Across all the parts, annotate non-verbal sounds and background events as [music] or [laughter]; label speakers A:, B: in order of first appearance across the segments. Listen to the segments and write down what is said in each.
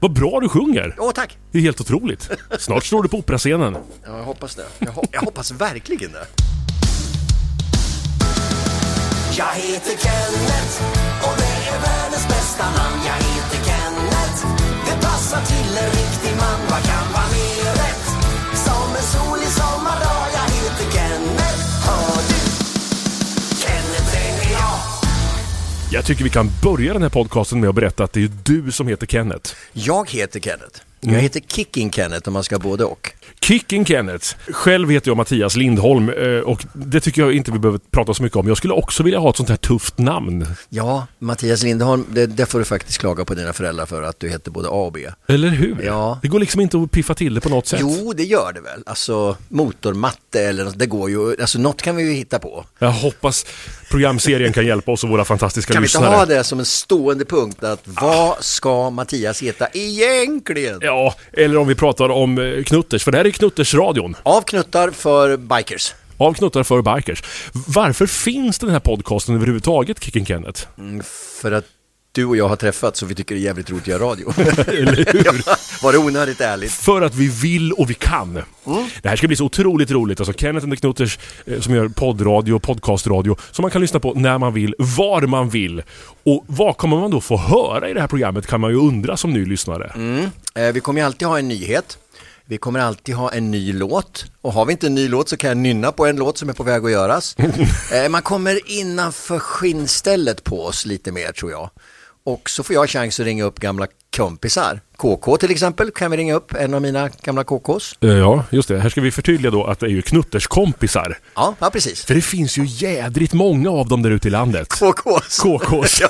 A: Vad bra du sjunger!
B: Åh tack!
A: Det är helt otroligt. Snart står du på operascenen.
B: Ja, jag hoppas det. Jag, ho- jag hoppas verkligen det.
C: Jag heter Kenneth och det är världens bästa namn Jag heter Kenneth, det passar till en riktig man Vad kan vara mer rätt? Som en solig sommardag Jag heter Kenneth, hör du? Kenneth, det är jag
A: Jag tycker vi kan börja den här podcasten med att berätta att det är du som heter Kenneth.
B: Jag heter Kenneth. Jag heter Kicking Kenneth om man ska ha både och.
A: Kicken Kenneth. Själv heter jag Mattias Lindholm eh, och det tycker jag inte vi behöver prata så mycket om. Jag skulle också vilja ha ett sånt här tufft namn.
B: Ja, Mattias Lindholm, det, det får du faktiskt klaga på dina föräldrar för att du heter både A och B.
A: Eller hur?
B: Ja.
A: Det går liksom inte att piffa till det på något sätt.
B: Jo, det gör det väl. Alltså motormatte eller något, det går ju, alltså något kan vi ju hitta på.
A: Jag hoppas programserien kan hjälpa oss och våra fantastiska
B: Kan vi inte
A: lyssnare.
B: ha det som en stående punkt att vad ska Mattias heta egentligen?
A: Ja, eller om vi pratar om eh, Knutters, för det här är Knuttersradion.
B: Av knuttar för bikers.
A: Av knuttar för bikers. Varför finns den här podcasten överhuvudtaget, Kicken Kenneth?
B: För att du och jag har träffats och vi tycker det är jävligt roligt att göra [laughs] radio.
A: Eller hur?
B: ja, var det onödigt ärligt?
A: För att vi vill och vi kan. Det här ska bli så otroligt roligt. Alltså Kenneth and the Knutters eh, som gör poddradio, podcastradio som man kan lyssna på när man vill, var man vill. Och vad kommer man då få höra i det här programmet kan man ju undra som ny lyssnare.
B: Eh, vi kommer ju alltid ha en nyhet. Vi kommer alltid ha en ny låt. Och har vi inte en ny låt så kan jag nynna på en låt som är på väg att göras. eh, man kommer innanför skinnstället på oss lite mer tror jag. Och så får jag chans att ringa upp gamla kompisar. KK till exempel kan vi ringa upp, en av mina gamla KKs.
A: Eh, Ja, just det. Här ska vi förtydliga då att det är ju Knutters kompisar.
B: Ja, ja precis.
A: För det finns ju jädrigt många av dem där ute i landet.
B: KKs.
A: KKs.
B: ja,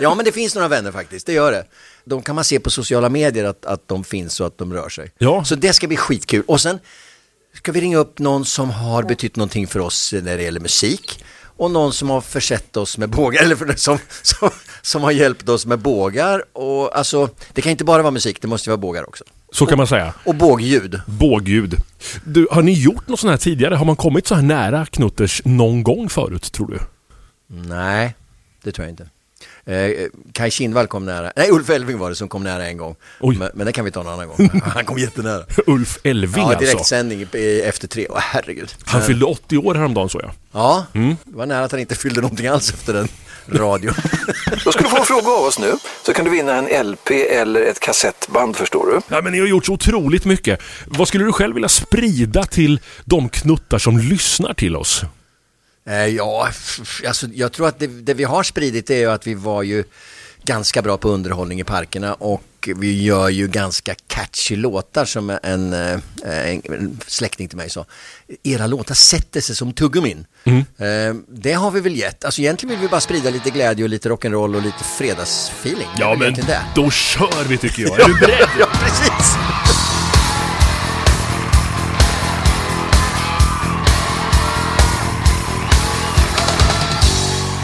B: ja, men det finns några vänner faktiskt, det gör det. De kan man se på sociala medier att, att de finns och att de rör sig.
A: Ja.
B: Så det ska bli skitkul. Och sen ska vi ringa upp någon som har betytt någonting för oss när det gäller musik. Och någon som har försett oss med bågar, eller för, som, som, som har hjälpt oss med bågar. Och alltså, det kan inte bara vara musik, det måste ju vara bågar också.
A: Så kan man säga.
B: Och bågljud.
A: Bågljud. Du, har ni gjort något sånt här tidigare? Har man kommit så här nära Knutters någon gång förut, tror du? [laughs]
B: Nej, det tror jag inte. Eh, Kaj Kindvall kom nära, nej Ulf Elving var det som kom nära en gång.
A: Oj.
B: Men, men det kan vi ta någon annan
A: [laughs]
B: gång. Han kom jättenära.
A: Ulf Elving
B: Ja,
A: alltså.
B: direktsändning i- i- efter tre. Åh, herregud.
A: Han Mm. fyllde 80 år häromdagen såg jag.
B: Ja, det var nära att han inte fyllde någonting alls efter
A: [laughs]
B: den radion.
D: Då ska du få en fråga av oss nu. Så kan du vinna en LP eller ett kassettband förstår du.
A: Ja, men ni har gjort så otroligt mycket. Vad skulle du själv vilja sprida till de knuttar som lyssnar till oss?
B: Eh, ja, f- f- alltså, jag tror att det, det vi har spridit det är ju att vi var ju ganska bra på underhållning i parkerna och vi gör ju ganska catchy låtar som en, eh, en, en släkting till mig sa. Era låtar sätter sig som tuggummin.
A: Mm.
B: Eh, det har vi väl gett. Alltså egentligen vill vi bara sprida lite glädje och lite rock'n'roll och lite fredagsfeeling. Det är
A: Ja,
B: väl
A: men
B: egentligen det.
A: då kör vi tycker
B: [laughs]
A: jag. Är du beredd?
B: Ja, precis.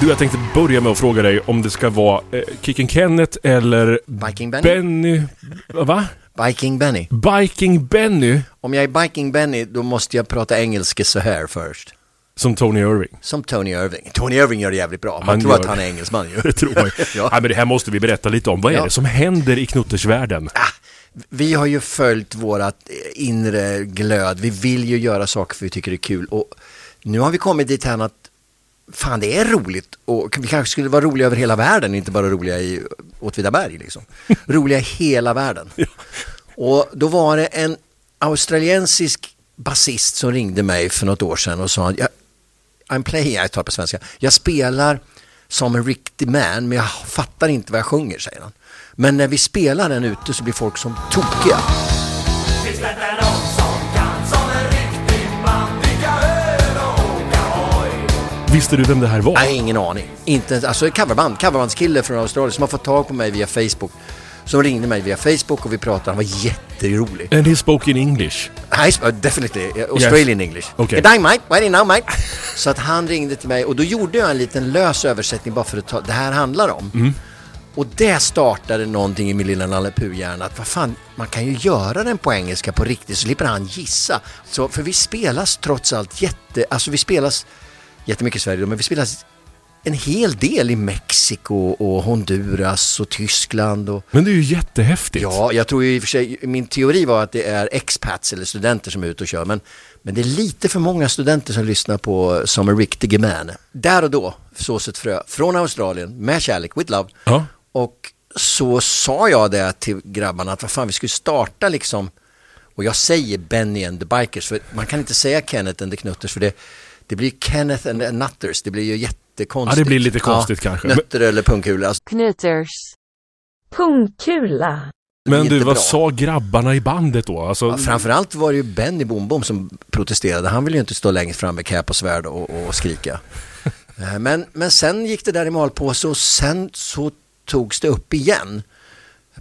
A: Du, jag tänkte börja med att fråga dig om det ska vara eh, Kicken Kenneth eller
B: Viking Benny.
A: Benny... Va?
B: Biking Benny.
A: Biking Benny
B: Om jag är Biking Benny då måste jag prata engelska så här först.
A: som Tony Irving.
B: Som Tony Irving. Tony Irving gör det jävligt bra. Man
A: Han
B: tror
A: gör
B: att han
A: det.
B: är engelsman ju.
A: [laughs] Det tror man ju.
B: [laughs] Ja.
A: Nej, men det här måste vi berätta lite om. Vad är
B: Ja.
A: det som händer i knuttersvärlden?
B: Ah, vi har ju följt vårat inre glöd. Vi vill ju göra saker för vi tycker det är kul. Och nu har vi kommit dit här att fan det är roligt. Och vi kanske skulle vara roliga över hela världen, inte bara roliga i
A: [laughs]
B: Åtvidaberg liksom. Roliga i hela världen. Och då var det en australiensisk basist som ringde mig för något år sedan och sa "Jag- I'm playing, jag tar på svenska. Jag spelar som en riktig man, men jag fattar inte vad jag sjunger, säger han. Men när vi spelar den ute så blir folk som tokiga.
C: Finns detta någon som kan som en riktig man Dricka öl och åka hoj
A: Visste du vem det här var?
B: Jag har ingen aning. Inte, ens- alltså coverband, coverbandskille från Australien som har fått tag på mig via Facebook. Som ringde mig via Facebook och vi pratade, han var jätterolig.
A: And he spoke in English.
B: Nej, sp- definitely uh, Australian English.
A: Okay.
B: Good day mate, where are you now mate? [laughs] Så att han ringde till mig och då gjorde jag en liten lös översättning bara för att ta, det här handlar om. Och det startade någonting i min lilla Nalle Puh hjärna att vad fan, man kan ju göra den på engelska på riktigt så slipper han gissa. Så, för vi spelas trots allt jätte, alltså vi spelas jättemycket i Sverige då, men vi spelas en hel del i Mexiko och Honduras och Tyskland och
A: Men det är ju jättehäftigt.
B: Ja, jag tror ju i och för sig, min teori var att det är expats eller studenter som är ute och kör, men, men det är lite för många studenter som lyssnar på Som en riktig man. Där och då sås ett frö från Australien med kärlek, with love.
A: Ja.
B: Och så sa jag det till grabbarna att vad fan, vi skulle starta liksom, och jag säger Benny and the Bikers, för man kan inte säga Kenneth and the Knutters, för det, det blir Kenneth and the Nutters, det blir ju jättekonstigt.
A: Ja, det blir lite konstigt kanske.
B: Nötter eller pungkulor, alltså,
E: Knutters. Pungkula.
A: Men du,
B: jättebra.
A: vad sa grabbarna i bandet då? Alltså,
B: Ja, framförallt var det ju Benny Bombom som protesterade. Han ville ju inte stå längst fram med cap och svärd och, och skrika. Eh, Men, men sen gick det där i malpåse och sen så togs det upp igen.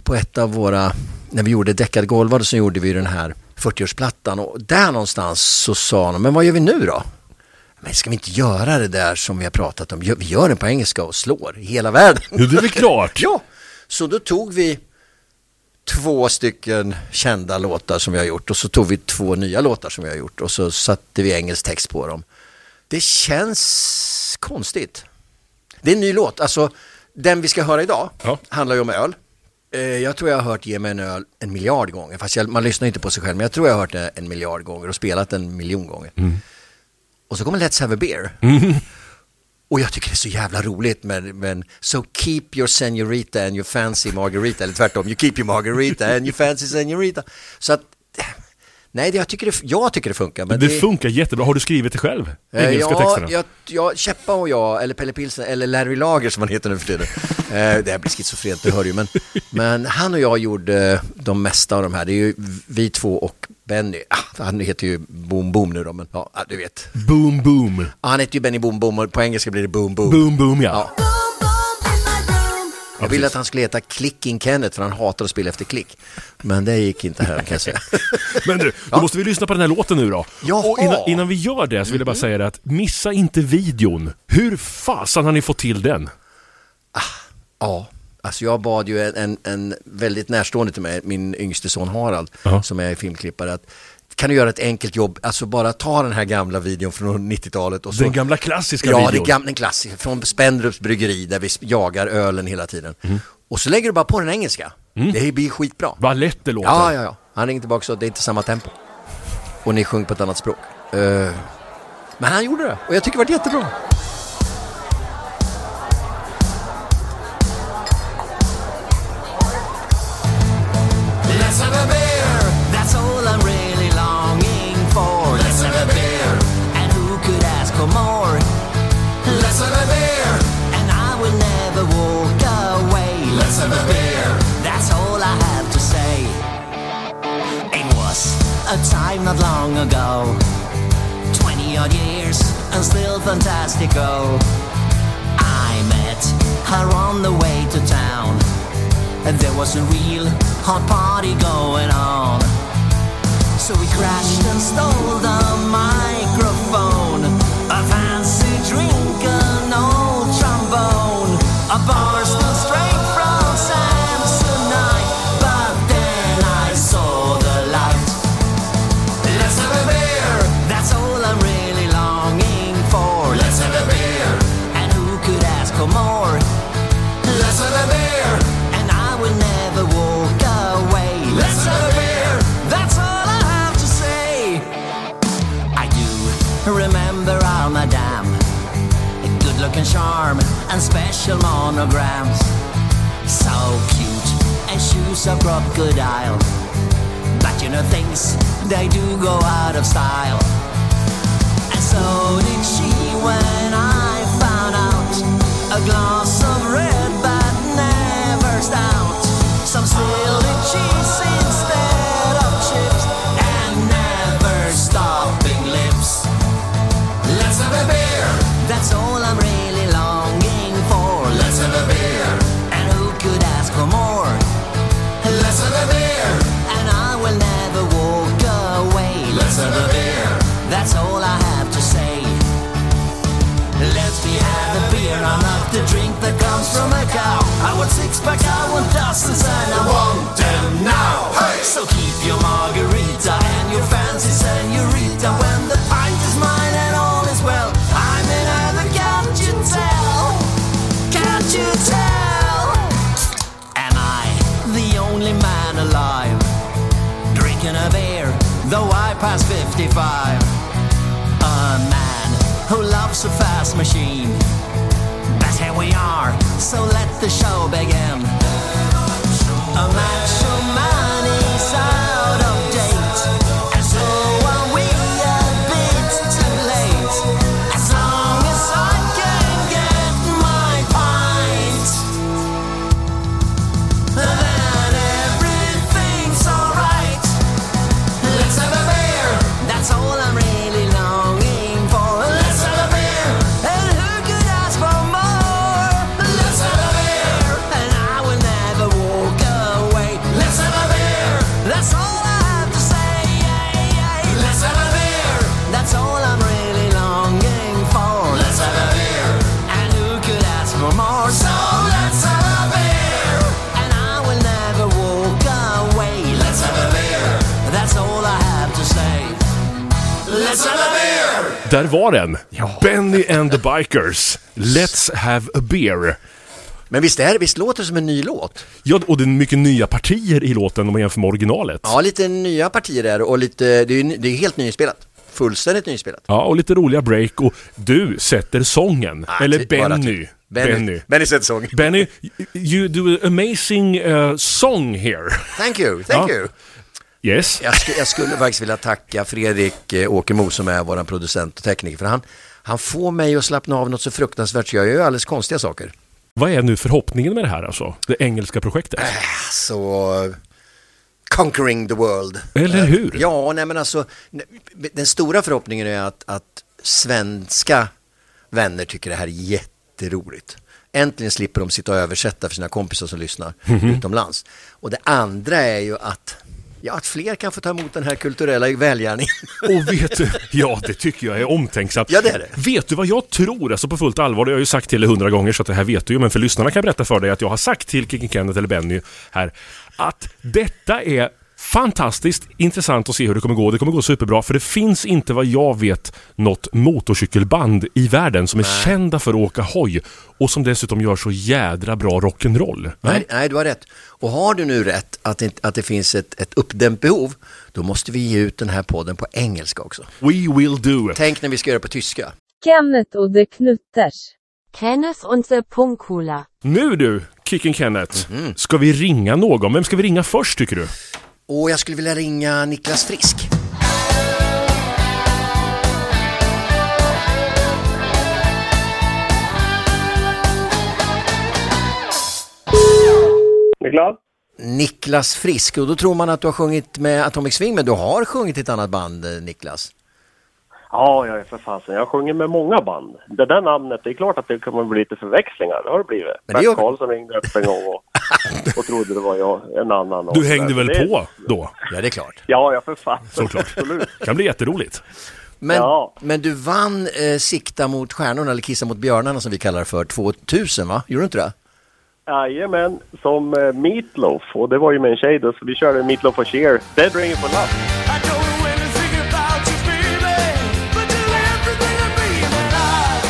B: På ett av våra, när vi gjorde däckad golvade så gjorde vi den här 40-årsplattan och där någonstans så sa de, men vad gör vi nu då? Men ska vi inte göra det där som vi har pratat om? Gör- Vi gör den på engelska och slår i hela världen.
A: Jo, det är väl klart.
B: [laughs] Ja, så då tog vi två stycken kända låtar som vi har gjort och så tog vi två nya låtar som vi har gjort och så satte vi engelsk text på dem. Det känns konstigt. Det är en ny låt, alltså den vi ska höra idag
A: Ja.
B: handlar ju om öl. Eh, Jag tror jag har hört Ge mig en öl en miljard gånger, fast jag, man lyssnar inte på sig själv, men jag tror jag har hört det en miljard gånger och spelat den en miljon gånger.
A: Mm.
B: Och så kommer Let's Have A Beer. Och jag tycker det är så jävla roligt men, men so keep your senorita and your fancy margarita, eller tvärtom, you keep your margarita and your fancy senorita. Så att, eh, nej det- jag tycker det, jag tycker det funkar. Men
A: det, funkar jättebra. Har du skrivit det själv?
B: Eh,
A: Engelska
B: ja,
A: texterna?
B: jag, jag, Käppa och jag, eller Pelle Pilsen, eller Larry Lager som han heter nu
A: [laughs]
B: för tiden. Eh, det här blir schizofrent, det hör du ju. Men, men han och jag gjorde de mesta av de här. Det är ju vi två och Benny. Ah, han heter ju Boom Boom nu då, men ja, ah, du vet.
A: Boom, boom.
B: Ah, han heter ju Benny Boom Boom och på engelska blir det Boom Boom.
A: Boom, boom ja.
B: Ja. Jag ville att han skulle heta Clicking Kenneth för han hatar att spela efter klick. Men det gick inte här kan
A: [laughs]
B: jag säga.
A: Men du, då måste vi lyssna på den här låten nu då.
B: Jaha. Mm.
A: Och innan, innan vi gör det så vill jag bara säga det att missa inte videon. Hur fasen har ni fått till den?
B: Ja, alltså jag bad ju en, en, en väldigt närstående till mig, min yngste son Harald,
A: Ja.
B: som är filmklippare, att kan du göra ett enkelt jobb, alltså bara ta den här gamla videon från 90-talet och så...
A: Den gamla klassiska
B: ja,
A: videon.
B: det gamla, den klassiska, från Spendrups bryggeri där vi s- jagar ölen hela tiden.
A: Mm.
B: Och så lägger du bara på den engelska. Det blir skitbra.
A: Vad lätt det låter.
B: Ja, ja, ja. Han ringde tillbaka och sa att det är inte samma tempo. Och ni sjöng på ett annat språk. Eh, men han gjorde det och jag tycker det var jättebra.
C: Let's have a beer. That's all I'm really longing for. Let's have a beer. And who could ask for more? Let's have a beer. And I will never walk away. Let's have a beer. That's all I have to say. It was a time not long ago. 20 odd years and still fantastico. I met her on the way to town. And there was a real hot party going on. So we crashed and stole the microphone. A fancy drink, an old trombone. A bar stood straight from Samsonite. But then I saw the light. Let's have a beer. That's all I'm really longing for. Let's have a beer. And who could ask for more? Let's have a beer. And I will never walk away. Let's have a beer. That's all I have to say. I do remember our madame. A good looking charm and special monograms. So cute and shoes of crocodile. But you know things, they do go out of style. And so did she when I found out a glass of red but never stout. Some silly cheese instead of chips and never stopping lips. Let's have a beer. That's all I'm really longing for. Let's have a beer. And who could ask for more? Let's have a beer. And I will never walk away. Let's have a beer. That's all I have to say. Let's be have a beer on up the drink that comes from a cow. I want six pack, I want dozens, and I want them now. So keep your margarita and your fancy senorita. When the pint is mine and all is well, I'm in heaven, can't you tell? only man alive. Drinking a beer, though I pass 55. A man who loves a fast machine. But here we are, so let the show begin. A macho man is out of date, and so are we a bit too late. As long as I can get my pint, then everything's alright. Let's have a beer. That's all I'm really longing for. Let's have a beer. And who could ask for more? Let's have a beer. And I will never walk away. Let's have a beer. That's all I have to say. Let's have a beer. That's all I'm really longing for. Let's have a beer. And who could ask for more? So let's have a beer. And I will never walk away. Let's have a beer. That's all I have to say. Let's have a beer.
A: Där var den! Benny and the Bikers, Let's have a beer.
B: Men visst, är, visst låter det som en ny låt?
A: Ja, och det är mycket nya partier i låten om man jämför med originalet.
B: Ja, lite nya partier där och lite, det är, ju ny- det är helt nyspelat. Fullständigt nyspelat.
A: Ja, och lite roliga break och du sätter sången. Eller
B: ty- bara
A: Benny.
B: typ. Benny.
A: Benny.
B: Benny sätter sång.
A: Benny, you do an amazing uh, song here.
B: Thank you, thank
A: Ja.
B: you.
A: Yes.
B: Jag, sk- jag skulle faktiskt vilja tacka Fredrik eh, Åkermo som är vår producent och tekniker för han, han får mig att slappna av något så fruktansvärt så jag gör ju alldeles konstiga saker.
A: Vad är nu förhoppningen med det här alltså? Det engelska projektet?
B: Så... Conquering the world. Eh,
A: Eller hur?
B: Ja, nej men alltså, ne- den stora förhoppningen är att, att svenska vänner tycker det här är jätteroligt. Äntligen slipper de sitta och översätta för sina kompisar som lyssnar
A: Mhm.
B: utomlands. Och det andra är ju att, ja, att fler kan få ta emot den här kulturella välgärningen.
A: Och vet du, ja det tycker jag är omtänksamt.
B: Ja, det är det.
A: Vet du vad jag tror, alltså på fullt allvar, det har jag ju sagt till dig hundra gånger så att det här vet du ju, men för lyssnarna kan jag berätta för dig att jag har sagt till Kicken Kenneth eller Benny här att detta är Fantastiskt intressant att se hur det kommer gå. Det kommer gå superbra för det finns inte vad jag vet något motorcykelband i världen som är kända för att åka hoj och som dessutom gör så jädra bra rock'n'roll.
B: Nej, nej, du har rätt. Och har du nu rätt att, det- att det finns ett, ett uppdämt behov, då måste vi ge ut den här podden på engelska också.
A: We will do.
B: Tänk när vi ska göra det på tyska.
E: Kenneth och de Knutters.
F: Kenneth und the Punkula.
A: Nu du, Kicken Kenneth,
B: Mhm.
A: ska vi ringa någon? Vem ska vi ringa först tycker du?
B: Och jag skulle vilja ringa Niklas Frisk.
G: Niklas?
B: Niklas Frisk, och då tror man att du har sjungit med Atomic Swing, men du har sjungit i ett annat band, eh, Niklas.
G: Ja, jag är för fasen. Jag sjunger med många band. Det där namnet, det är klart att det kommer bli lite förväxlingar. Det har det blivit.
B: Men det gör-
G: Bert Karlsson ringde upp en
B: [laughs]
G: gång och, och trodde det var jag, en annan. och
A: Du
G: så
A: hängde
G: där.
A: väl
G: Det-
A: på då?
B: Ja, det är klart.
G: Ja, jag för fasen.
A: Såklart.
G: Absolut.
A: Det kan bli jätteroligt.
B: Men,
G: Ja.
B: men du vann eh, Sikta mot stjärnorna, eller Kissa mot björnarna som vi kallar det för, 2000 va? Gjorde du inte det?
G: Jajamän, som eh, Meatloaf. Och det var ju med en tjej då, så vi körde Meatloaf och Cher. Dead Ring for Love.
C: I don't know anything about you, baby, but you're everything to me that I.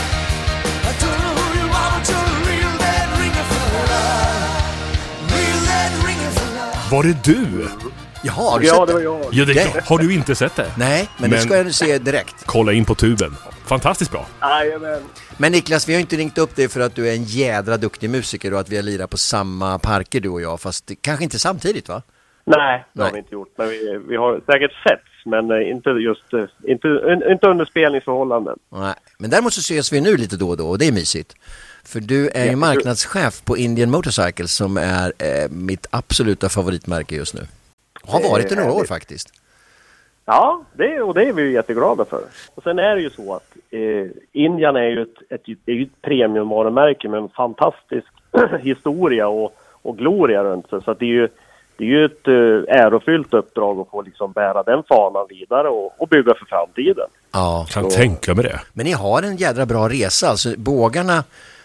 C: I don't know who you are, but you're a real dead ringer for love, real dead ringer for love.
A: Var det du?
B: Jaha, har du
G: Ja,
B: sett
G: det
B: det?
G: var jag.
A: Ja, det är klart. Har du inte sett det?
B: Nej, men, det
A: Men-
B: ska jag se direkt.
A: Kolla in på tuben. Fantastiskt bra.
G: Jajamän.
B: Men Niklas, vi har ju inte ringt upp dig för att du är en jädra duktig musiker och att vi har lirat på samma parker du och jag, fast kanske inte samtidigt va?
G: Nej, det har
B: Nej.
G: vi inte gjort. Men vi, vi har säkert sett, men eh, inte just... eh, Inte, un- inte under spelningsförhållanden.
B: Nej, men däremot så ses vi nu lite då och då och det är mysigt. För du är ju marknadschef på Indian Motorcycles som är eh, mitt absoluta favoritmärke just nu. Har
G: Det är
B: varit det några år
G: härligt.
B: faktiskt.
G: Ja, det, och det är vi ju jätteglada för. Och sen är det ju så att eh, Indian är ju ett, ett, det är ju ett premiumvarumärke med en fantastisk [clears throat] historia och, och gloria runt sig. Så att det är ju, det är ju ett eh, ärofyllt uppdrag att få liksom bära den fanan vidare och, och bygga för framtiden.
B: Ja,
A: Kan tänka mig det.
B: men ni har en jädra bra resa. Alltså bågarna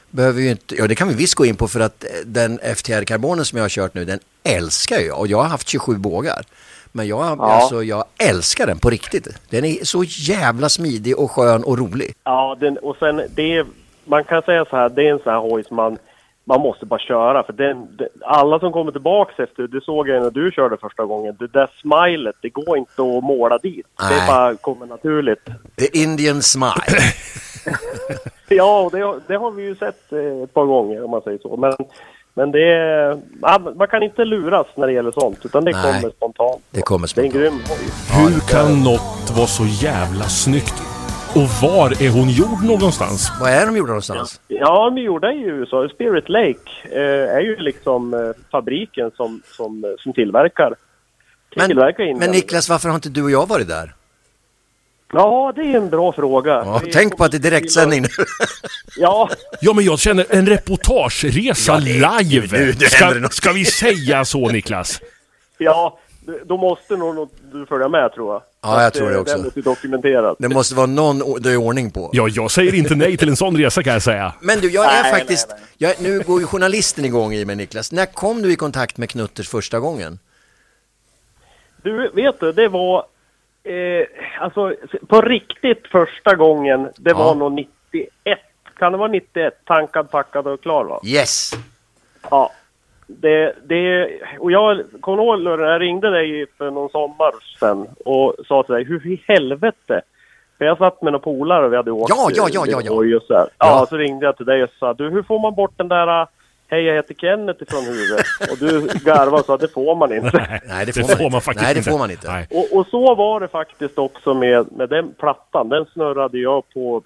B: behöver ju inte, ja det kan vi visst gå in på för att eh, den FTR Carbonen som jag har kört nu den älskar jag och jag har haft 27 bågar. Men jag, alltså, jag älskar den på riktigt. Den är så jävla smidig och skön och rolig.
G: Ja, den, och sen det är, man kan säga så här, det är en sån här hoj som man, man måste bara köra. För den, den, alla som kommer tillbaks efter, det såg jag när du körde första gången, det där smilet, det går inte att måla dit.
B: Nej.
G: Det bara kommer naturligt.
B: The Indian smile.
G: Ja, och det, det har vi ju sett eh, ett par gånger om man säger så. Men, men det, är- ja, man kan inte luras när det gäller sånt, utan det
B: Nej.
G: kommer spontant.
B: Det kommer spontant.
G: Det är en grym hoj.
A: Hur kan något vara så jävla snyggt? Och var är hon gjord någonstans?
B: Vad är de gjorda någonstans?
G: Ja, de gjorde i USA. Spirit Lake eh, är ju liksom eh, fabriken som, som, eh, som tillverkar.
B: Men,
G: tillverkar Indian.
B: men Niklas, varför har inte du och jag varit där?
G: Ja, det är en bra fråga.
B: Ja,
G: Vi-
B: tänk på att det är direktsändning nu.
G: [laughs] Ja,
A: Ja, men jag känner en reportageresa
B: nu-
A: live.
B: nu händer det
A: Ska,
B: något.
A: ska vi säga så Niklas?
G: ja, då måste nog något- du följa med tror jag.
B: Ja, jag
G: Att,
B: tror
G: eh,
B: det också.
G: Det måste dokumenteras.
B: [laughs] Det måste vara någon o- det är ordning på.
A: Ja, jag säger inte nej till en sån resa kan jag säga.
B: Men du, jag är
G: Nej,
B: faktiskt... Jag, nu går ju journalisten igång i mig, Niklas. När kom du i kontakt med Knutters första gången?
G: Du, vet du, det var... Eh, alltså, på riktigt första gången, det var nog 91. Kan det vara 91? Tankad, packad och klar va?
B: Yes!
G: Ja. Det, det, och jag kommer ihåg när jag ringde dig för någon sommar sedan och sa till dig, hur i helvete? För jag satt med några polare och vi hade åkt.
B: Ja, ja,
G: eh,
B: ja, ja, ja.
G: och just så här.
B: Ja.
G: ja, så ringde jag till dig och sa, du hur får man bort den där eh, Hej jag heter Kenneth ifrån huvudet. Och du garvade och sa, det får man inte.
B: Nej, det får man inte.
A: faktiskt
B: Nej, det
A: inte.
B: får man inte.
A: Nej.
G: Och, och så var det faktiskt också med, med den plattan. Den snurrade jag på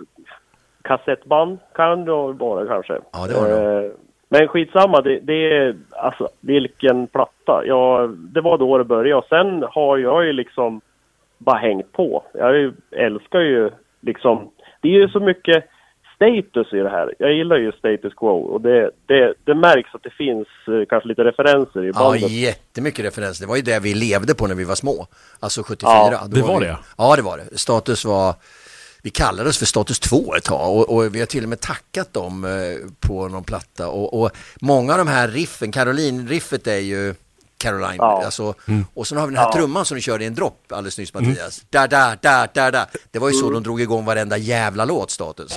G: kassettband, kan det vara kanske.
B: Ja, det var det.
G: Eh, Men skitsamma, det, det är alltså vilken platta. Ja, det var då det började. Och sen har jag ju liksom bara hängt på. Jag är ju, älskar ju liksom, det är ju så mycket status i det här. Jag gillar ju status quo och det, det, det märks att det finns eh, kanske lite referenser i
B: Ja,
G: bandet.
B: jättemycket referenser. Det var ju det vi levde på när vi var små. Alltså 74.
G: Ja,
B: Då
A: det var
B: vi,
A: det.
B: Ja, det var det. Status var... Vi kallade oss för Status 2 ett tag och, och vi har till och med tackat dem eh, på någon platta. Och, och många av de här riffen, Caroline-riffet är ju Caroline.
G: Ja. Mm.
B: Alltså, Och sen har vi den här trumman som du körde i en dropp alldeles nyss Mattias. Da, da, da, da, da. Det var ju
G: Mm.
B: så de drog igång varenda jävla låt, Status.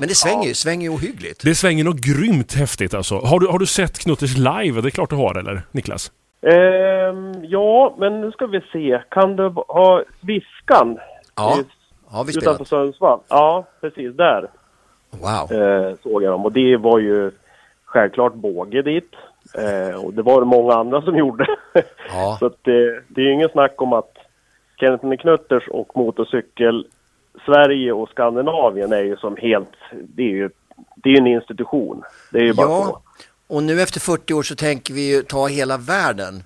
B: Men det svänger ju, svänger ju ohyggligt.
A: Det svänger något grymt häftigt alltså. Har du, har du sett Knutters live? Det är klart du har eller? Niklas?
G: Ehm, ja, men nu ska vi se. Kan du ha Viskan?
B: Ja,
G: I-
B: har vi
G: Utanför
B: spelat.
G: Sundsvall? Ja, precis. Där
B: Wow.
G: eh, såg jag dem. Och det var ju självklart båge dit. Eh, och det var det många andra som gjorde.
B: [laughs] Ja.
G: Så att, eh, det är ju ingen snack om att Kenneth med Knutters och motorcykel Sverige och Skandinavien är ju som helt... Det är ju, det är ju en institution. Det är ju bara så. [laughs]
B: Ja, och nu efter 40 år så tänker vi ju ta hela världen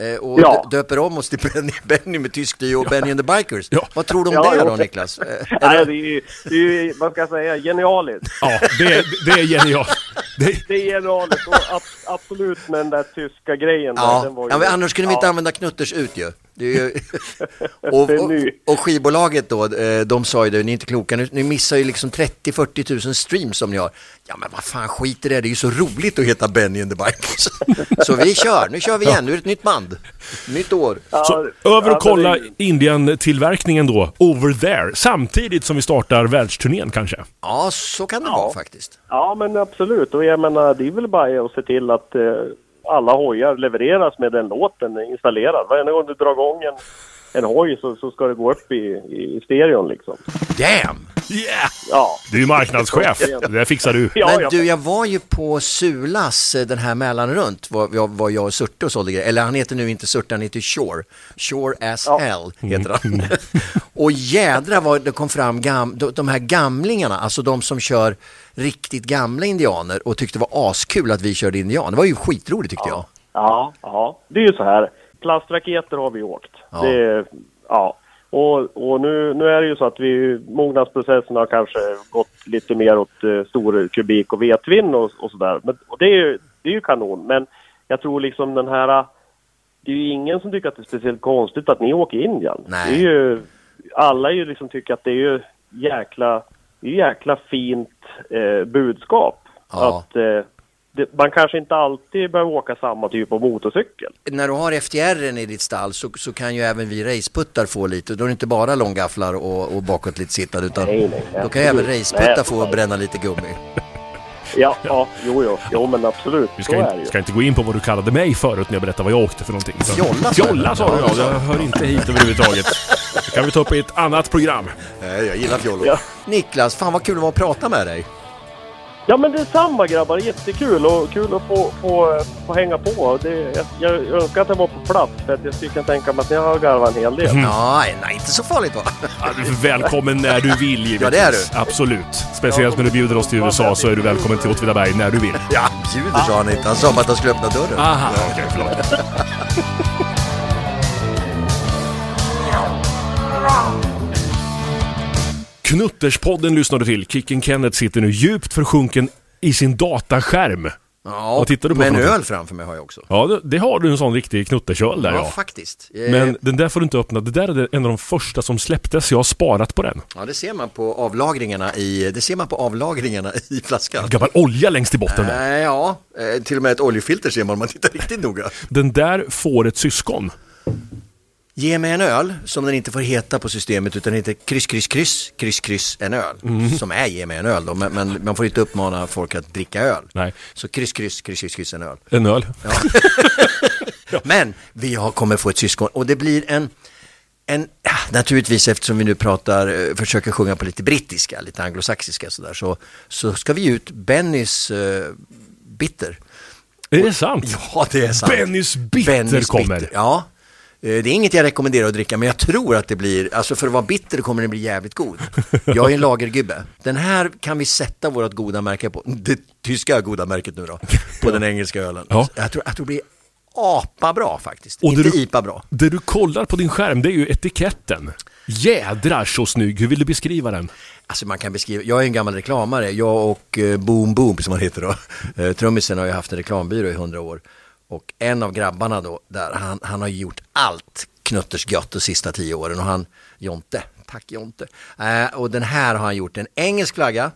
B: eh, och
G: Ja.
B: dö- döper om oss till Benny, Benny med tysk dy och Benny and the Bikers.
A: Ja.
B: Vad tror du om
G: Ja,
B: det
G: jo.
B: då Niklas?
G: [laughs]
B: Eh,
G: Nej, det är ju, det är ju, vad ska jag säga, genialiskt.
A: Ja, det, är- det är genialt. Det,
G: Det är generalet, och ab- absolut med den där tyska grejen. där,
B: ja.
G: den var ju-
B: ja, men annars kunde vi inte
G: Ja.
B: använda Knutters ut ju. Det är
G: [laughs]
B: ju och,
G: Det är
B: och,
G: ny.
B: och skivbolaget då, eh, de sa ju det, ni är inte kloka, ni, ni missar ju liksom 30-40 tusen streams som ni har. Ja men vad fan skit i det, det är ju så roligt att heta Benny and the
G: [laughs]
B: Bikers. så vi kör, nu kör vi igen, nu är det ett nytt band, nytt år.
A: så
G: Ja,
A: över
G: men
A: och kolla
G: det-
A: Indian-tillverkningen då, over there. Samtidigt som vi startar världsturnén kanske.
B: Ja, så kan det vara faktiskt.
G: Ja, men absolut. Och jag menar, det är väl bara att se till att eh, alla hojar levereras med den låten installerad. Varje gång du drar igång en, en hoj så, så ska det gå upp i, i stereon liksom.
B: Damn!
A: Yeah!
G: Ja,
A: Du är marknadschef. Det där fixar du.
G: ja,
B: Men
G: ja.
B: du, jag var ju på Sulas, eh, den här mellan runt, var, jag- var jag och Surte och sålde grejer. Eller han heter nu inte Surte, han heter Shore. Shore as hell heter han. [laughs] och jädra vad det kom fram gam, de, de här gamlingarna, alltså de som kör riktigt gamla indianer och tyckte det var askul att vi körde indian. Det var ju skitroligt tyckte jag.
G: Ja, ja. Det är ju så här. Plastraketer har vi åkt.
B: Ja.
G: Det, ja. Och, och nu, nu är det ju så att vi, mognadsprocessen har kanske gått lite mer åt eh, stor kubik och vetvin och, och sådär. Men- Och det är, ju, det är ju kanon. Men jag tror liksom den här... Det är ju ingen som tycker att det är speciellt konstigt att ni åker Indian.
B: Nej.
G: Det är ju, alla är ju liksom tycker att det är ju jäkla, det är ju jäkla fint eh, budskap.
B: Ja.
G: Att, eh, det, man kanske inte alltid behöver åka samma typ av motorcykel.
B: När du har FTR i ditt stall så, så kan ju även vi raceputtar få lite. Då är det inte bara långgafflar och, och bakåt lite sittad utan
G: Nej, nej, nej.
B: då kan ju även raceputtar
G: Nej.
B: få bränna lite gummi.
A: [laughs]
G: Ja, ja, jo, jo, jo men absolut.
A: Vi
G: Så är
A: ska,
G: det
A: in,
G: ju.
A: ska inte gå in på vad du kallade mig förut när jag berättade vad jag åkte för någonting. Så.
B: Fjolla, sa jag.
A: Fjolla sa du ja, jag hör inte hit överhuvudtaget. Det kan vi ta upp i ett annat program.
B: Nej, Eh, jag gillar fjollor.
G: Ja.
B: Niklas, fan vad kul det var att prata med dig.
G: Ja men detsamma grabbar, jättekul och kul att få, få, få hänga på. Det, jag, jag önskar att jag var på plats för att jag skulle kunna tänka mig att jag har garvat en hel del.
A: Mm.
B: Nej, nej, inte så farligt va? [laughs]
A: Ja, du är Välkommen när du vill givetvis.
B: Ja, det är du.
A: Absolut. Speciellt när du bjuder oss till USA så är du välkommen till Åtvidaberg när du vill.
B: Ja, bjuder sa han inte. Han sa bara att han skulle öppna dörren.
A: Aha, okej, förlåt. Knutterspodden lyssnar du till. Kicken Kenneth sitter nu djupt försjunken i sin dataskärm.
B: Ja,
A: Vad tittar du på
B: men
A: för
B: en
A: någonting?
B: öl framför mig har jag också.
A: Ja, det- det har du en sån riktig knutterköl där
B: Ja,
A: ja.
B: faktiskt. Eh,
A: Men
B: Men...
A: den där får du inte öppna. Det där är en av de första som släpptes. Jag har sparat på den.
B: Ja, det ser man på avlagringarna i, det ser man på avlagringarna [laughs] i flaskan.
A: Gammal olja längst i botten där.
B: Nej, ja, eh, till och med ett oljefilter ser man om man tittar riktigt noga.
A: Den där får ett syskon.
B: Ge mig en öl som den inte får heta på systemet utan heter kryss, kryss, kryss, kryss, kryss, en öl.
A: Mm.
B: Som är ge mig en öl då, men, men man får inte uppmana folk att dricka öl.
A: Nej.
B: Så kryss, kryss, kryss, kryss, kryss, en öl.
A: En öl.
B: Men vi har, kommer få ett syskon och det blir en, en ah, naturligtvis eftersom vi nu pratar, eh, försöker sjunga på lite brittiska, lite anglosaxiska sådär, så, så ska vi ge ut Bennys eh, bitter.
A: Är det sant?
B: Ja, det är sant.
A: Bennys bitter kommer.
B: Ja. Eh, Det är inget jag rekommenderar att dricka, men jag tror att det blir, alltså för att vara bitter kommer den bli jävligt god.
A: [laughs]
B: Jag är en lagergubbe. Den här kan vi sätta vårt goda märke på, det tyska goda märket nu då, på den engelska ölen.
A: [laughs] Ja.
B: Jag, tror, jag tror det blir apa bra faktiskt,
A: Och det
B: inte
A: du-
B: IPA bra.
A: Det du kollar på din skärm, det är ju etiketten. Jädrar så snygg! Hur vill du beskriva den?
B: Alltså man kan beskriva, jag är en gammal reklamare, jag och eh, Boom Boom som han heter då, eh, trummisen har ju haft en reklambyrå i hundra år. Och en av grabbarna då, där han, han har gjort allt knuttersgött de sista tio åren och han, Jonte, tack Jonte. Eh, och den här har han gjort en engelsk flagga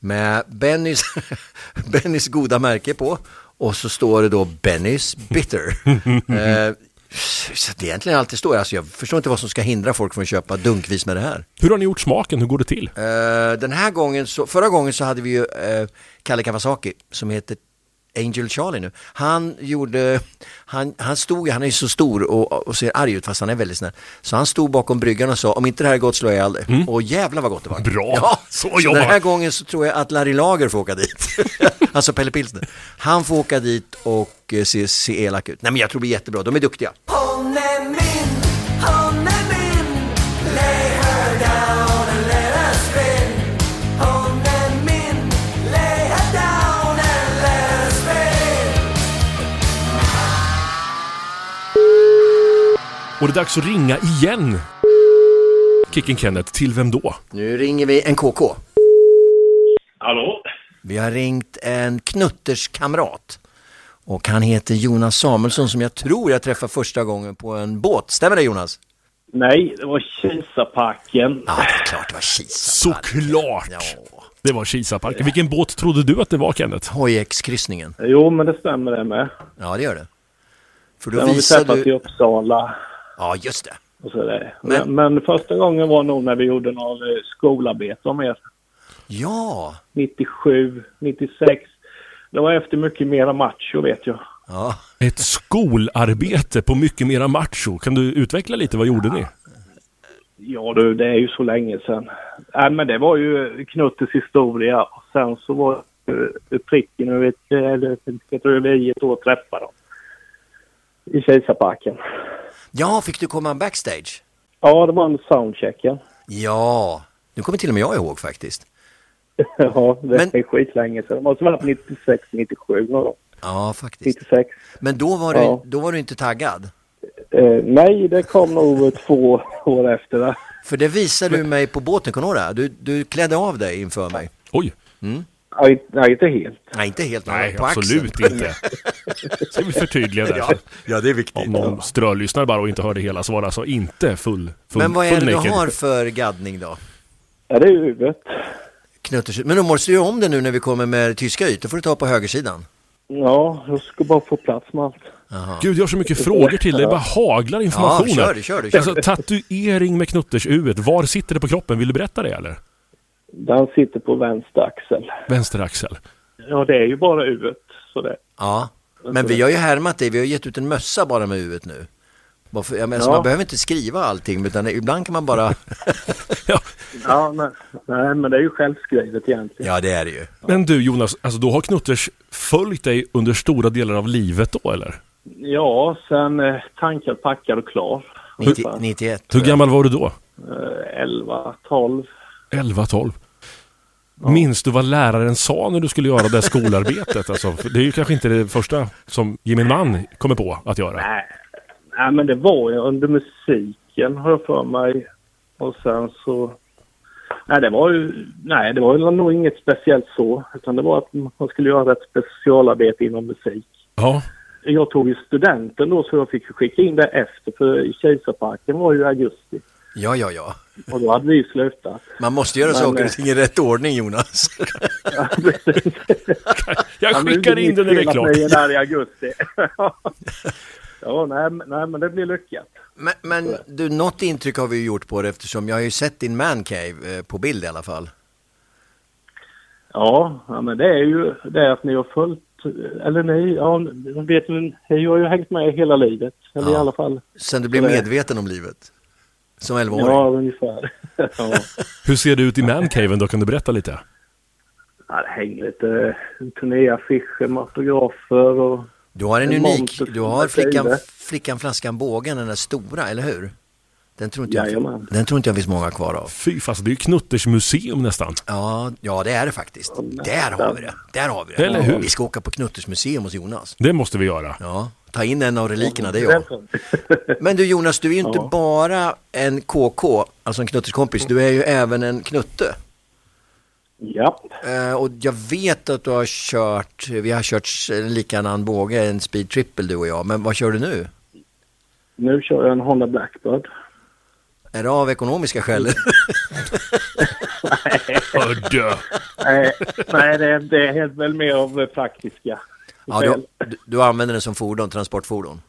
B: med Bennys, [laughs] Bennys goda märke på och så står det då Bennys Bitter. eh, så det är egentligen allt det står, alltså jag förstår inte vad som ska hindra folk från att köpa dunkvis med det här.
A: Hur har ni gjort smaken? Hur går det till?
B: Eh, den här gången, så, förra gången så hade vi ju eh, Kalle Kawasaki som heter Angel Charlie nu. Han gjorde, han, han stod, han är ju så stor och, och ser arg ut fast han är väldigt snäll. Så han stod bakom bryggan och sa om inte det här är gott slår jag ihjäl dig. Och jävlar vad gott det var.
A: Mm. Bra.
B: Ja,
A: Så
B: så
A: jobbar
B: den här
A: man.
B: gången så tror jag att Larry Lager får åka dit. [laughs] alltså Pelle Pilsner. Han får åka dit och eh, se, se elak ut. Nej men jag tror det blir jättebra, de är duktiga.
C: Hon är min, hon är min Lay her down and let her spin Hon är min, lay her down and let her spin
A: Och det är dags att ringa igen! Kicken Kenneth, till vem då?
B: Nu ringer vi en KK.
G: Hallå?
B: Vi har ringt en knutterskamrat. Och han heter Jonas Samuelsson som jag tror jag träffade första gången på en båt. Stämmer det Jonas?
G: Nej, det var Kisapacken.
A: Ah.
B: Ja, det är klart det var Kisa.
A: Såklart!
B: Ja.
A: Det var Kisaparken. Vilken båt trodde du att det var Kenneth?
B: Hojekskryssningen.
G: Jo, men det stämmer det med.
B: Ja, det gör det. För
G: Sen
B: då
G: har vi
B: visar
G: träffats i
B: du...
G: Uppsala
B: Ja, just det.
G: och så där.
B: Men-
G: Men, men första gången var nog när vi gjorde någon eh, skolarbete om er.
B: Ja!
G: 97, 96. Det var efter mycket mera macho vet jag.
B: Ja,
A: Ett skolarbete på mycket mera macho. Kan du utveckla lite? Vad gjorde ni?
G: Ja du, det är ju så länge sedan. Nej men det var ju Knuttes historia och sen så var eh, pricken över ett, eller pricket över i ett år träffade dem. I Kisaparken.
B: ja fick du komma backstage?
G: Ja, det var en soundcheck ja. [laughs]
B: Ja! Nu kommer till och med jag ihåg faktiskt.
G: Ja, det
B: Men-
G: är skitlänge sedan. Det måste ha varit 96, 97 någon gång.
B: Ja, faktiskt.
G: 96.
B: Men då var du,
G: Ja.
B: då var du inte taggad.
G: Eh, nej, det kom nog två år efter det.
B: För det visade du mig på båten, kommer du ihåg det? här? Du, du klädde av dig inför mig.
A: Oj!
G: Ja, inte- Nej, inte helt.
B: Nej, inte helt. men
A: Nej,
B: på axeln.
A: absolut
B: [laughs]
A: inte. Ska vi förtydliga där.
B: Ja, det är viktigt.
A: Om någon strölyssnar bara och inte hör det hela så var det alltså inte full, full
B: Men vad är det
A: full
B: du
A: naked.
B: har för gaddning då?
G: Ja, det är ju huvudet.
B: Knutters. Men då måste du göra om det nu när vi kommer med tyska ytor. får du ta på högersidan.
H: Ja, jag ska bara få plats med allt.
A: Gud, jag har så mycket frågor till dig. Det bara haglar information.
C: Ja, kör du, kör du, kör
A: Alltså,
C: du.
A: tatuering med knutters uet. Var sitter det på kroppen? Vill du berätta det eller?
H: Den sitter på vänster axel.
A: Vänster axel. [laughs]
H: Ja, det är ju bara huvudet. Så det.
C: Ja, men vi har ju härmat dig. Vi har gett ut en mössa bara med huvudet nu. Bara för- Jag menar, så
H: Ja.
C: Man behöver inte skriva allting, utan ibland kan man
G: [laughs]
C: bara...
A: Ja.
H: Ja, nej, nej, men det är ju självskrivet egentligen.
C: ja, det är det ju.
A: Men du Jonas, alltså då har knutters följt dig under stora delar av livet då eller?
H: Ja, sen eh, tankad, packad och klar.
C: 90, 91.
A: Hur gammal var du då?
H: Eh, 11, 12.
A: 11, 12? Minns du vad läraren sa när du skulle göra det här skolarbetet? Alltså, för det är ju kanske inte det första som gemene man kommer på att göra.
H: Nej, nej, men det var ju under musiken har jag för mig. Och sen så... Nej, det var ju, nej, det var ju nog inget speciellt så. Utan det var att man skulle göra ett specialarbete inom musik.
A: Ja,
H: Jag tog ju studenten då så jag fick ju skicka in det efter för i Kejsarparken var ju i augusti.
C: Ja, ja, ja.
H: Och då hade vi ju slutat.
C: Man måste göra
H: Men,
C: saker och
H: eh,
C: ting i rätt ordning, Jonas.
H: Ja, precis.
A: jag
H: Ja, men
A: skickar
H: det
A: in det när det är
H: mitt fel att
A: klart.
H: ni är där i augusti. [laughs] ja, nej, men- nej, men det blir lyckat.
C: [laughs] Men, men du, något intryck har vi ju gjort på det eftersom jag har ju sett din mancave eh, på bild i alla fall.
H: Ja, ja, men det är ju det att ni har följt, eller ni, ja, ni vet ni, jag har ju hängt med hela livet. Eller i
C: Ja.
H: alla fall,
C: Sen du blev
H: Eller-
C: medveten om livet. Som 11-åring.
H: ja, ungefär. [laughs] ja.
A: Hur ser det ut i mancaven då? Kan du berätta lite?
H: ja, det hänger lite turnéaffischer med autografer och
C: Du har en
H: En
C: unik,
H: monster
C: du har
H: som jag
C: flickan,
H: säger.
C: flickan, flaskan, bågen, den där stora, eller hur? Den tror inte jag,
H: Jajamän.
C: den tror inte jag finns många kvar av.
A: Fy fast det är ju knutters museum nästan.
C: Ja, ja, det är det faktiskt. Där har vi det. Där har vi det.
A: Eller hur?
C: Vi ska åka på Knutters museum hos Jonas.
A: Det måste vi göra.
C: Ja, ta in en av relikerna, det är jag. [laughs] Men du Jonas, du är ju inte bara en KK, alltså en knutterskompis, du är ju även en knutte.
H: Japp.
C: Eh, och jag vet att du har kört, vi har kört en likadan båge, en speed triple du och jag, men vad kör du nu?
H: Nu kör jag en Honda Blackbird.
C: Är det av ekonomiska skäl?
A: Ödde.
C: [laughs]
H: Nej, nej det, det är helt väl mer av eh, praktiska
C: Ja,
H: skäl.
C: du, du- du använder den som fordon, transportfordon.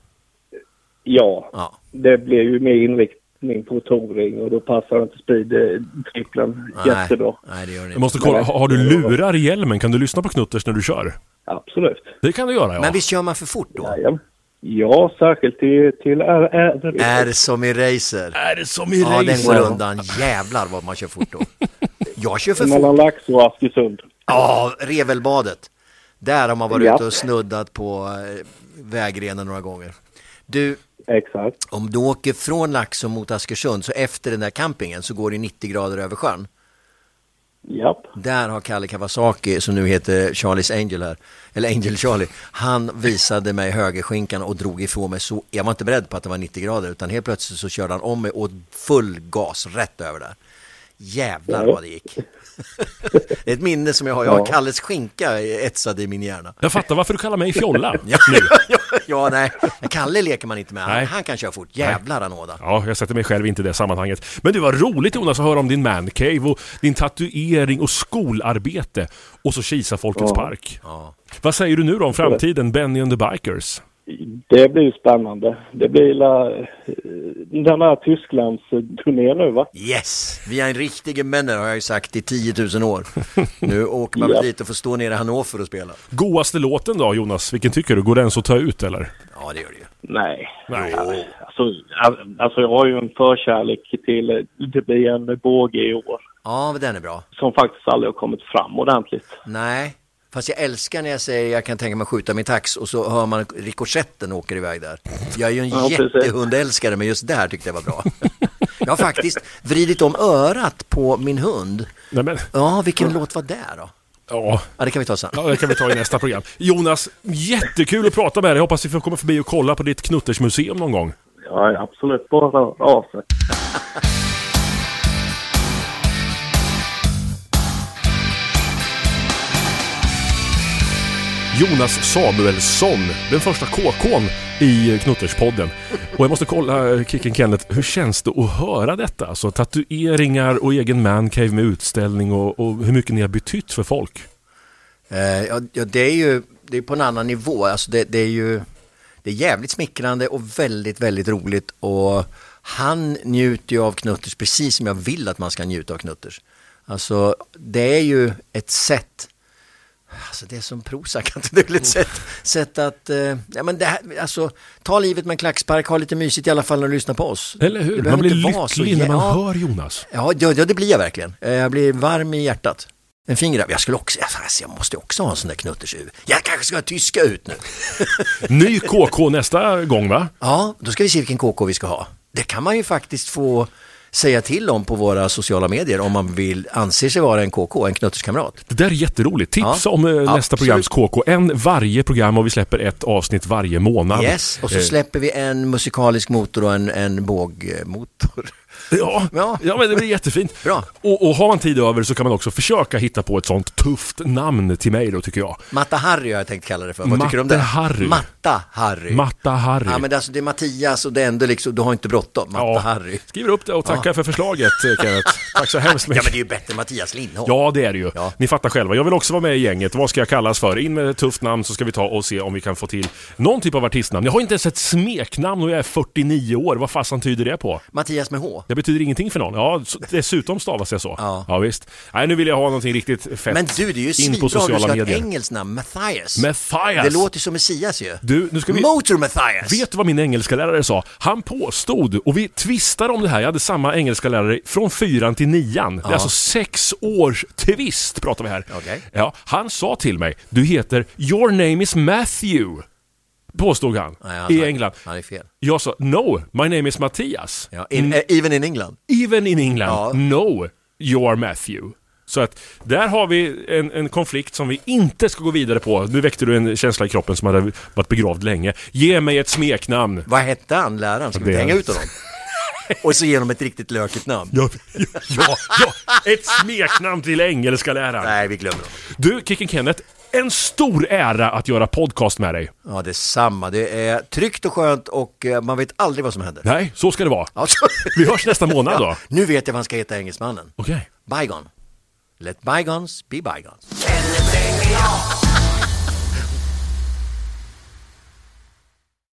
H: Ja,
C: Ja.
H: det blev ju mer inriktning på touring och då passar inte speed-trippeln jättebra.
C: Nej, det gör det
A: Jag
C: inte.
A: måste kolla, har har du lurar i hjälmen? Kan du lyssna på knutters när du kör?
H: Absolut.
A: Det kan du göra ja.
C: Men visst kör man för fort då?
H: Jajamän. Ja, särskilt till, till R. R.
C: Är som i racer.
A: Är det som i
C: Ja, den går
A: racer?
C: undan. Jävlar vad man kör fort då. Jag kör för fort.
H: [laughs] Mellan Laxå och Askersund.
C: Ja, revelbadet. Där har man varit
H: Ja.
C: ute och snuddat på eh, vägrenen några gånger. Du,
H: Exakt.
C: om du åker från Laxå mot Askersund, så efter den där campingen så går det 90 grader över sjön.
H: Japp.
C: Där har Kalle Kawasaki, som nu heter Charlies Angel här, eller Angel Charlie, han visade mig högerskinkan och drog ifrån mig så, jag var inte beredd på att det var 90 grader utan helt plötsligt så körde han om mig och full gas rätt över där. Jävlar vad det gick. [laughs] det är ett minne som jag har, jag har Kalles skinka etsad i min hjärna.
A: Jag fattar varför du kallar mig fjolla.
C: [laughs] Ja, ja, ja, nej, Men Kalle leker man inte med, han,
A: Nej.
C: han kan köra fort, jävlar anåda.
A: Ja, jag sätter mig själv inte i det sammanhanget. Men det var roligt Jonas att höra om din mancave och din tatuering och skolarbete. Och så Kisa Folkets Park.
C: Ja.
A: Vad säger du nu då om framtiden, Benny and the Bikers?
H: Det blir ju spännande. Det blir la, eh, den här Tysklandsturnén nu, va?
C: Yes! Vi är en riktig männer har jag ju sagt i 10 000 år. Nu åker man
H: Ja.
C: väl dit och får stå nere i Hannover och spela.
A: Godaste låten då Jonas, vilken tycker du? Går den så att ta ut eller?
C: Ja, det gör det ju.
H: Nej.
A: Nej.
H: Alltså, all- alltså, jag har ju en förkärlek till... eh, Det blir en båge i år
C: Ja, men den är bra.
H: som faktiskt aldrig har kommit fram ordentligt.
C: Nej, fast jag älskar när jag säger jag kan tänka mig att skjuta min tax och så hör man rikoschetten åker iväg där. Jag är ju en
H: Ja, precis.
C: jättehundälskare men just där tyckte jag
B: [laughs]
C: var bra. Jag har faktiskt vridit om örat på min hund.
A: Nej men,
C: Ja, vilken låt var det då?
A: ja.
C: Ja, det kan vi ta sen.
A: Ja, det kan vi ta i nästa program. Jonas, jättekul att prata med dig. Jag hoppas vi får komma förbi och kolla på ditt knuttersmuseum någon gång.
H: Ja, absolut. Bara rör av sig.
A: Jonas Samuelsson, den första KK'n i Knutterspodden. Och jag måste kolla, eh, Kicken Kenneth, hur känns det att höra detta? Alltså tatueringar och egen mancave med utställning och, och hur mycket ni har betytt för folk.
C: Eh, ja, ja, det är ju
B: det är på en annan nivå. Alltså det, det är ju det är jävligt smickrande och väldigt, väldigt roligt. Och han njuter ju av Knutters precis som jag vill att man ska njuta av Knutters. Alltså det är ju ett sätt Alltså det är som Prozac, att [laughs] det är väl ett sätt, sätt att, eh, ja men det här, alltså ta livet med en klackspark, ha lite mysigt i alla fall när du lyssnar på oss.
A: Eller hur?
B: Det
A: Man
B: behöver
A: blir
B: inte vara så
A: lycklig när man
B: jä- ja.
A: hör Jonas.
B: Ja, ja, ja, det blir jag verkligen. Eh, Jag blir varm i hjärtat. En fingergrabb. Jag skulle också, alltså, jag måste också ha en sån där knuttersur. Jag kanske ska ha tyska ut nu.
A: Ny KK nästa gång va?
B: Ja, då ska vi se vilken KK vi ska ha. Det kan man ju faktiskt få säga till om på våra sociala medier om man vill anser sig vara en KK, en knutterskamrat.
A: Det där är jätteroligt. Tipsa
B: Ja,
A: om eh, nästa
B: absolut.
A: programs KK. En varje program och vi släpper ett avsnitt varje månad.
B: Yes, och så
A: Eh,
B: släpper vi en musikalisk motor och en, en bågmotor.
A: Ja, ja.
B: Ja.
A: men det blir jättefint.
B: Bra.
A: Och, och har man tid över så kan man också försöka hitta på ett sånt tufft namn till mig då tycker jag.
B: Matta-Harry har jag tänkt kalla det för. Vad tycker du om det?
A: Matte-Harry.
B: Matta-Harry.
A: Matta-Harry.
B: Ja, men det är alltså, det är Mattias och det är ändå liksom, du har inte bråttom. Matta-Harry.
A: Skriver upp det och tackar för förslaget eh, Kenneth. Tack så hemskt
B: Ja,
A: mycket.
B: men det är ju bättre än Mattias Lindholm.
A: Ja, det är det ju.
B: Ja.
A: Ni fattar själva. Jag vill också vara med i gänget. Vad ska jag kallas för? In med ett tufft namn så ska vi ta och se om vi kan få till någon typ av artistnamn. Jag har inte ens ett smeknamn och jag är 49 år. Vad fasen tyder det på?
B: Mattias med H.
A: Det betyder ingenting för någon. Ja, så- dessutom stavas det så.
B: Ja.
A: visst. Nej, nu vill jag ha någonting riktigt fett.
B: Men du, det är ju
A: In på
B: svinbra om du ska
A: sociala
B: ha ett
A: medier.
B: engelskt namn, Matthias.
A: Mathias!
B: Det låter ju som Messias ju.
A: Du, nu ska vi...
B: Motor Matthias!
A: Vet du vad min engelska lärare sa? Han påstod, och vi tvistar om det här, jag hade samma engelska lärare från fyran till nian. Det är alltså sex års tvist pratar vi här.
B: Okej.
A: Ja, han sa till mig, du heter Your name is Matthew. Påstod han,
B: Nej, han-
A: i England.
B: Han är fel.
A: Jag sa, no, my name is Mattias.
B: Ja, in,
A: Mm.
B: eh, Even in England.
A: Even in England,
B: Ja.
A: no, you are Matthew. Så att där har vi en, en konflikt som vi inte ska gå vidare på. Nu väckte du en känsla i kroppen som hade varit begravd länge. Ge mig ett smeknamn.
B: Vad hette han, läraren? Ska vi
A: Det-
B: inte hänga
A: [laughs]
B: ut honom? Och så ge honom ett riktigt lökigt namn.
A: Ja, ja, ja, ett smeknamn till engelska läraren.
B: Nej, vi glömmer honom.
A: Du, Kicken Kenneth, en stor ära att göra podcast med dig.
B: Ja, detsamma. Det är tryggt och skönt och eh, man vet aldrig vad som händer.
A: Nej, så ska det vara.
B: Alltså,
A: Vi hörs nästa månad då.
B: nu vet jag vad han ska heta, engelsmannen.
A: Okej.
B: Bygone. Let bygones be bygones.
C: Kenneth Engel, ja.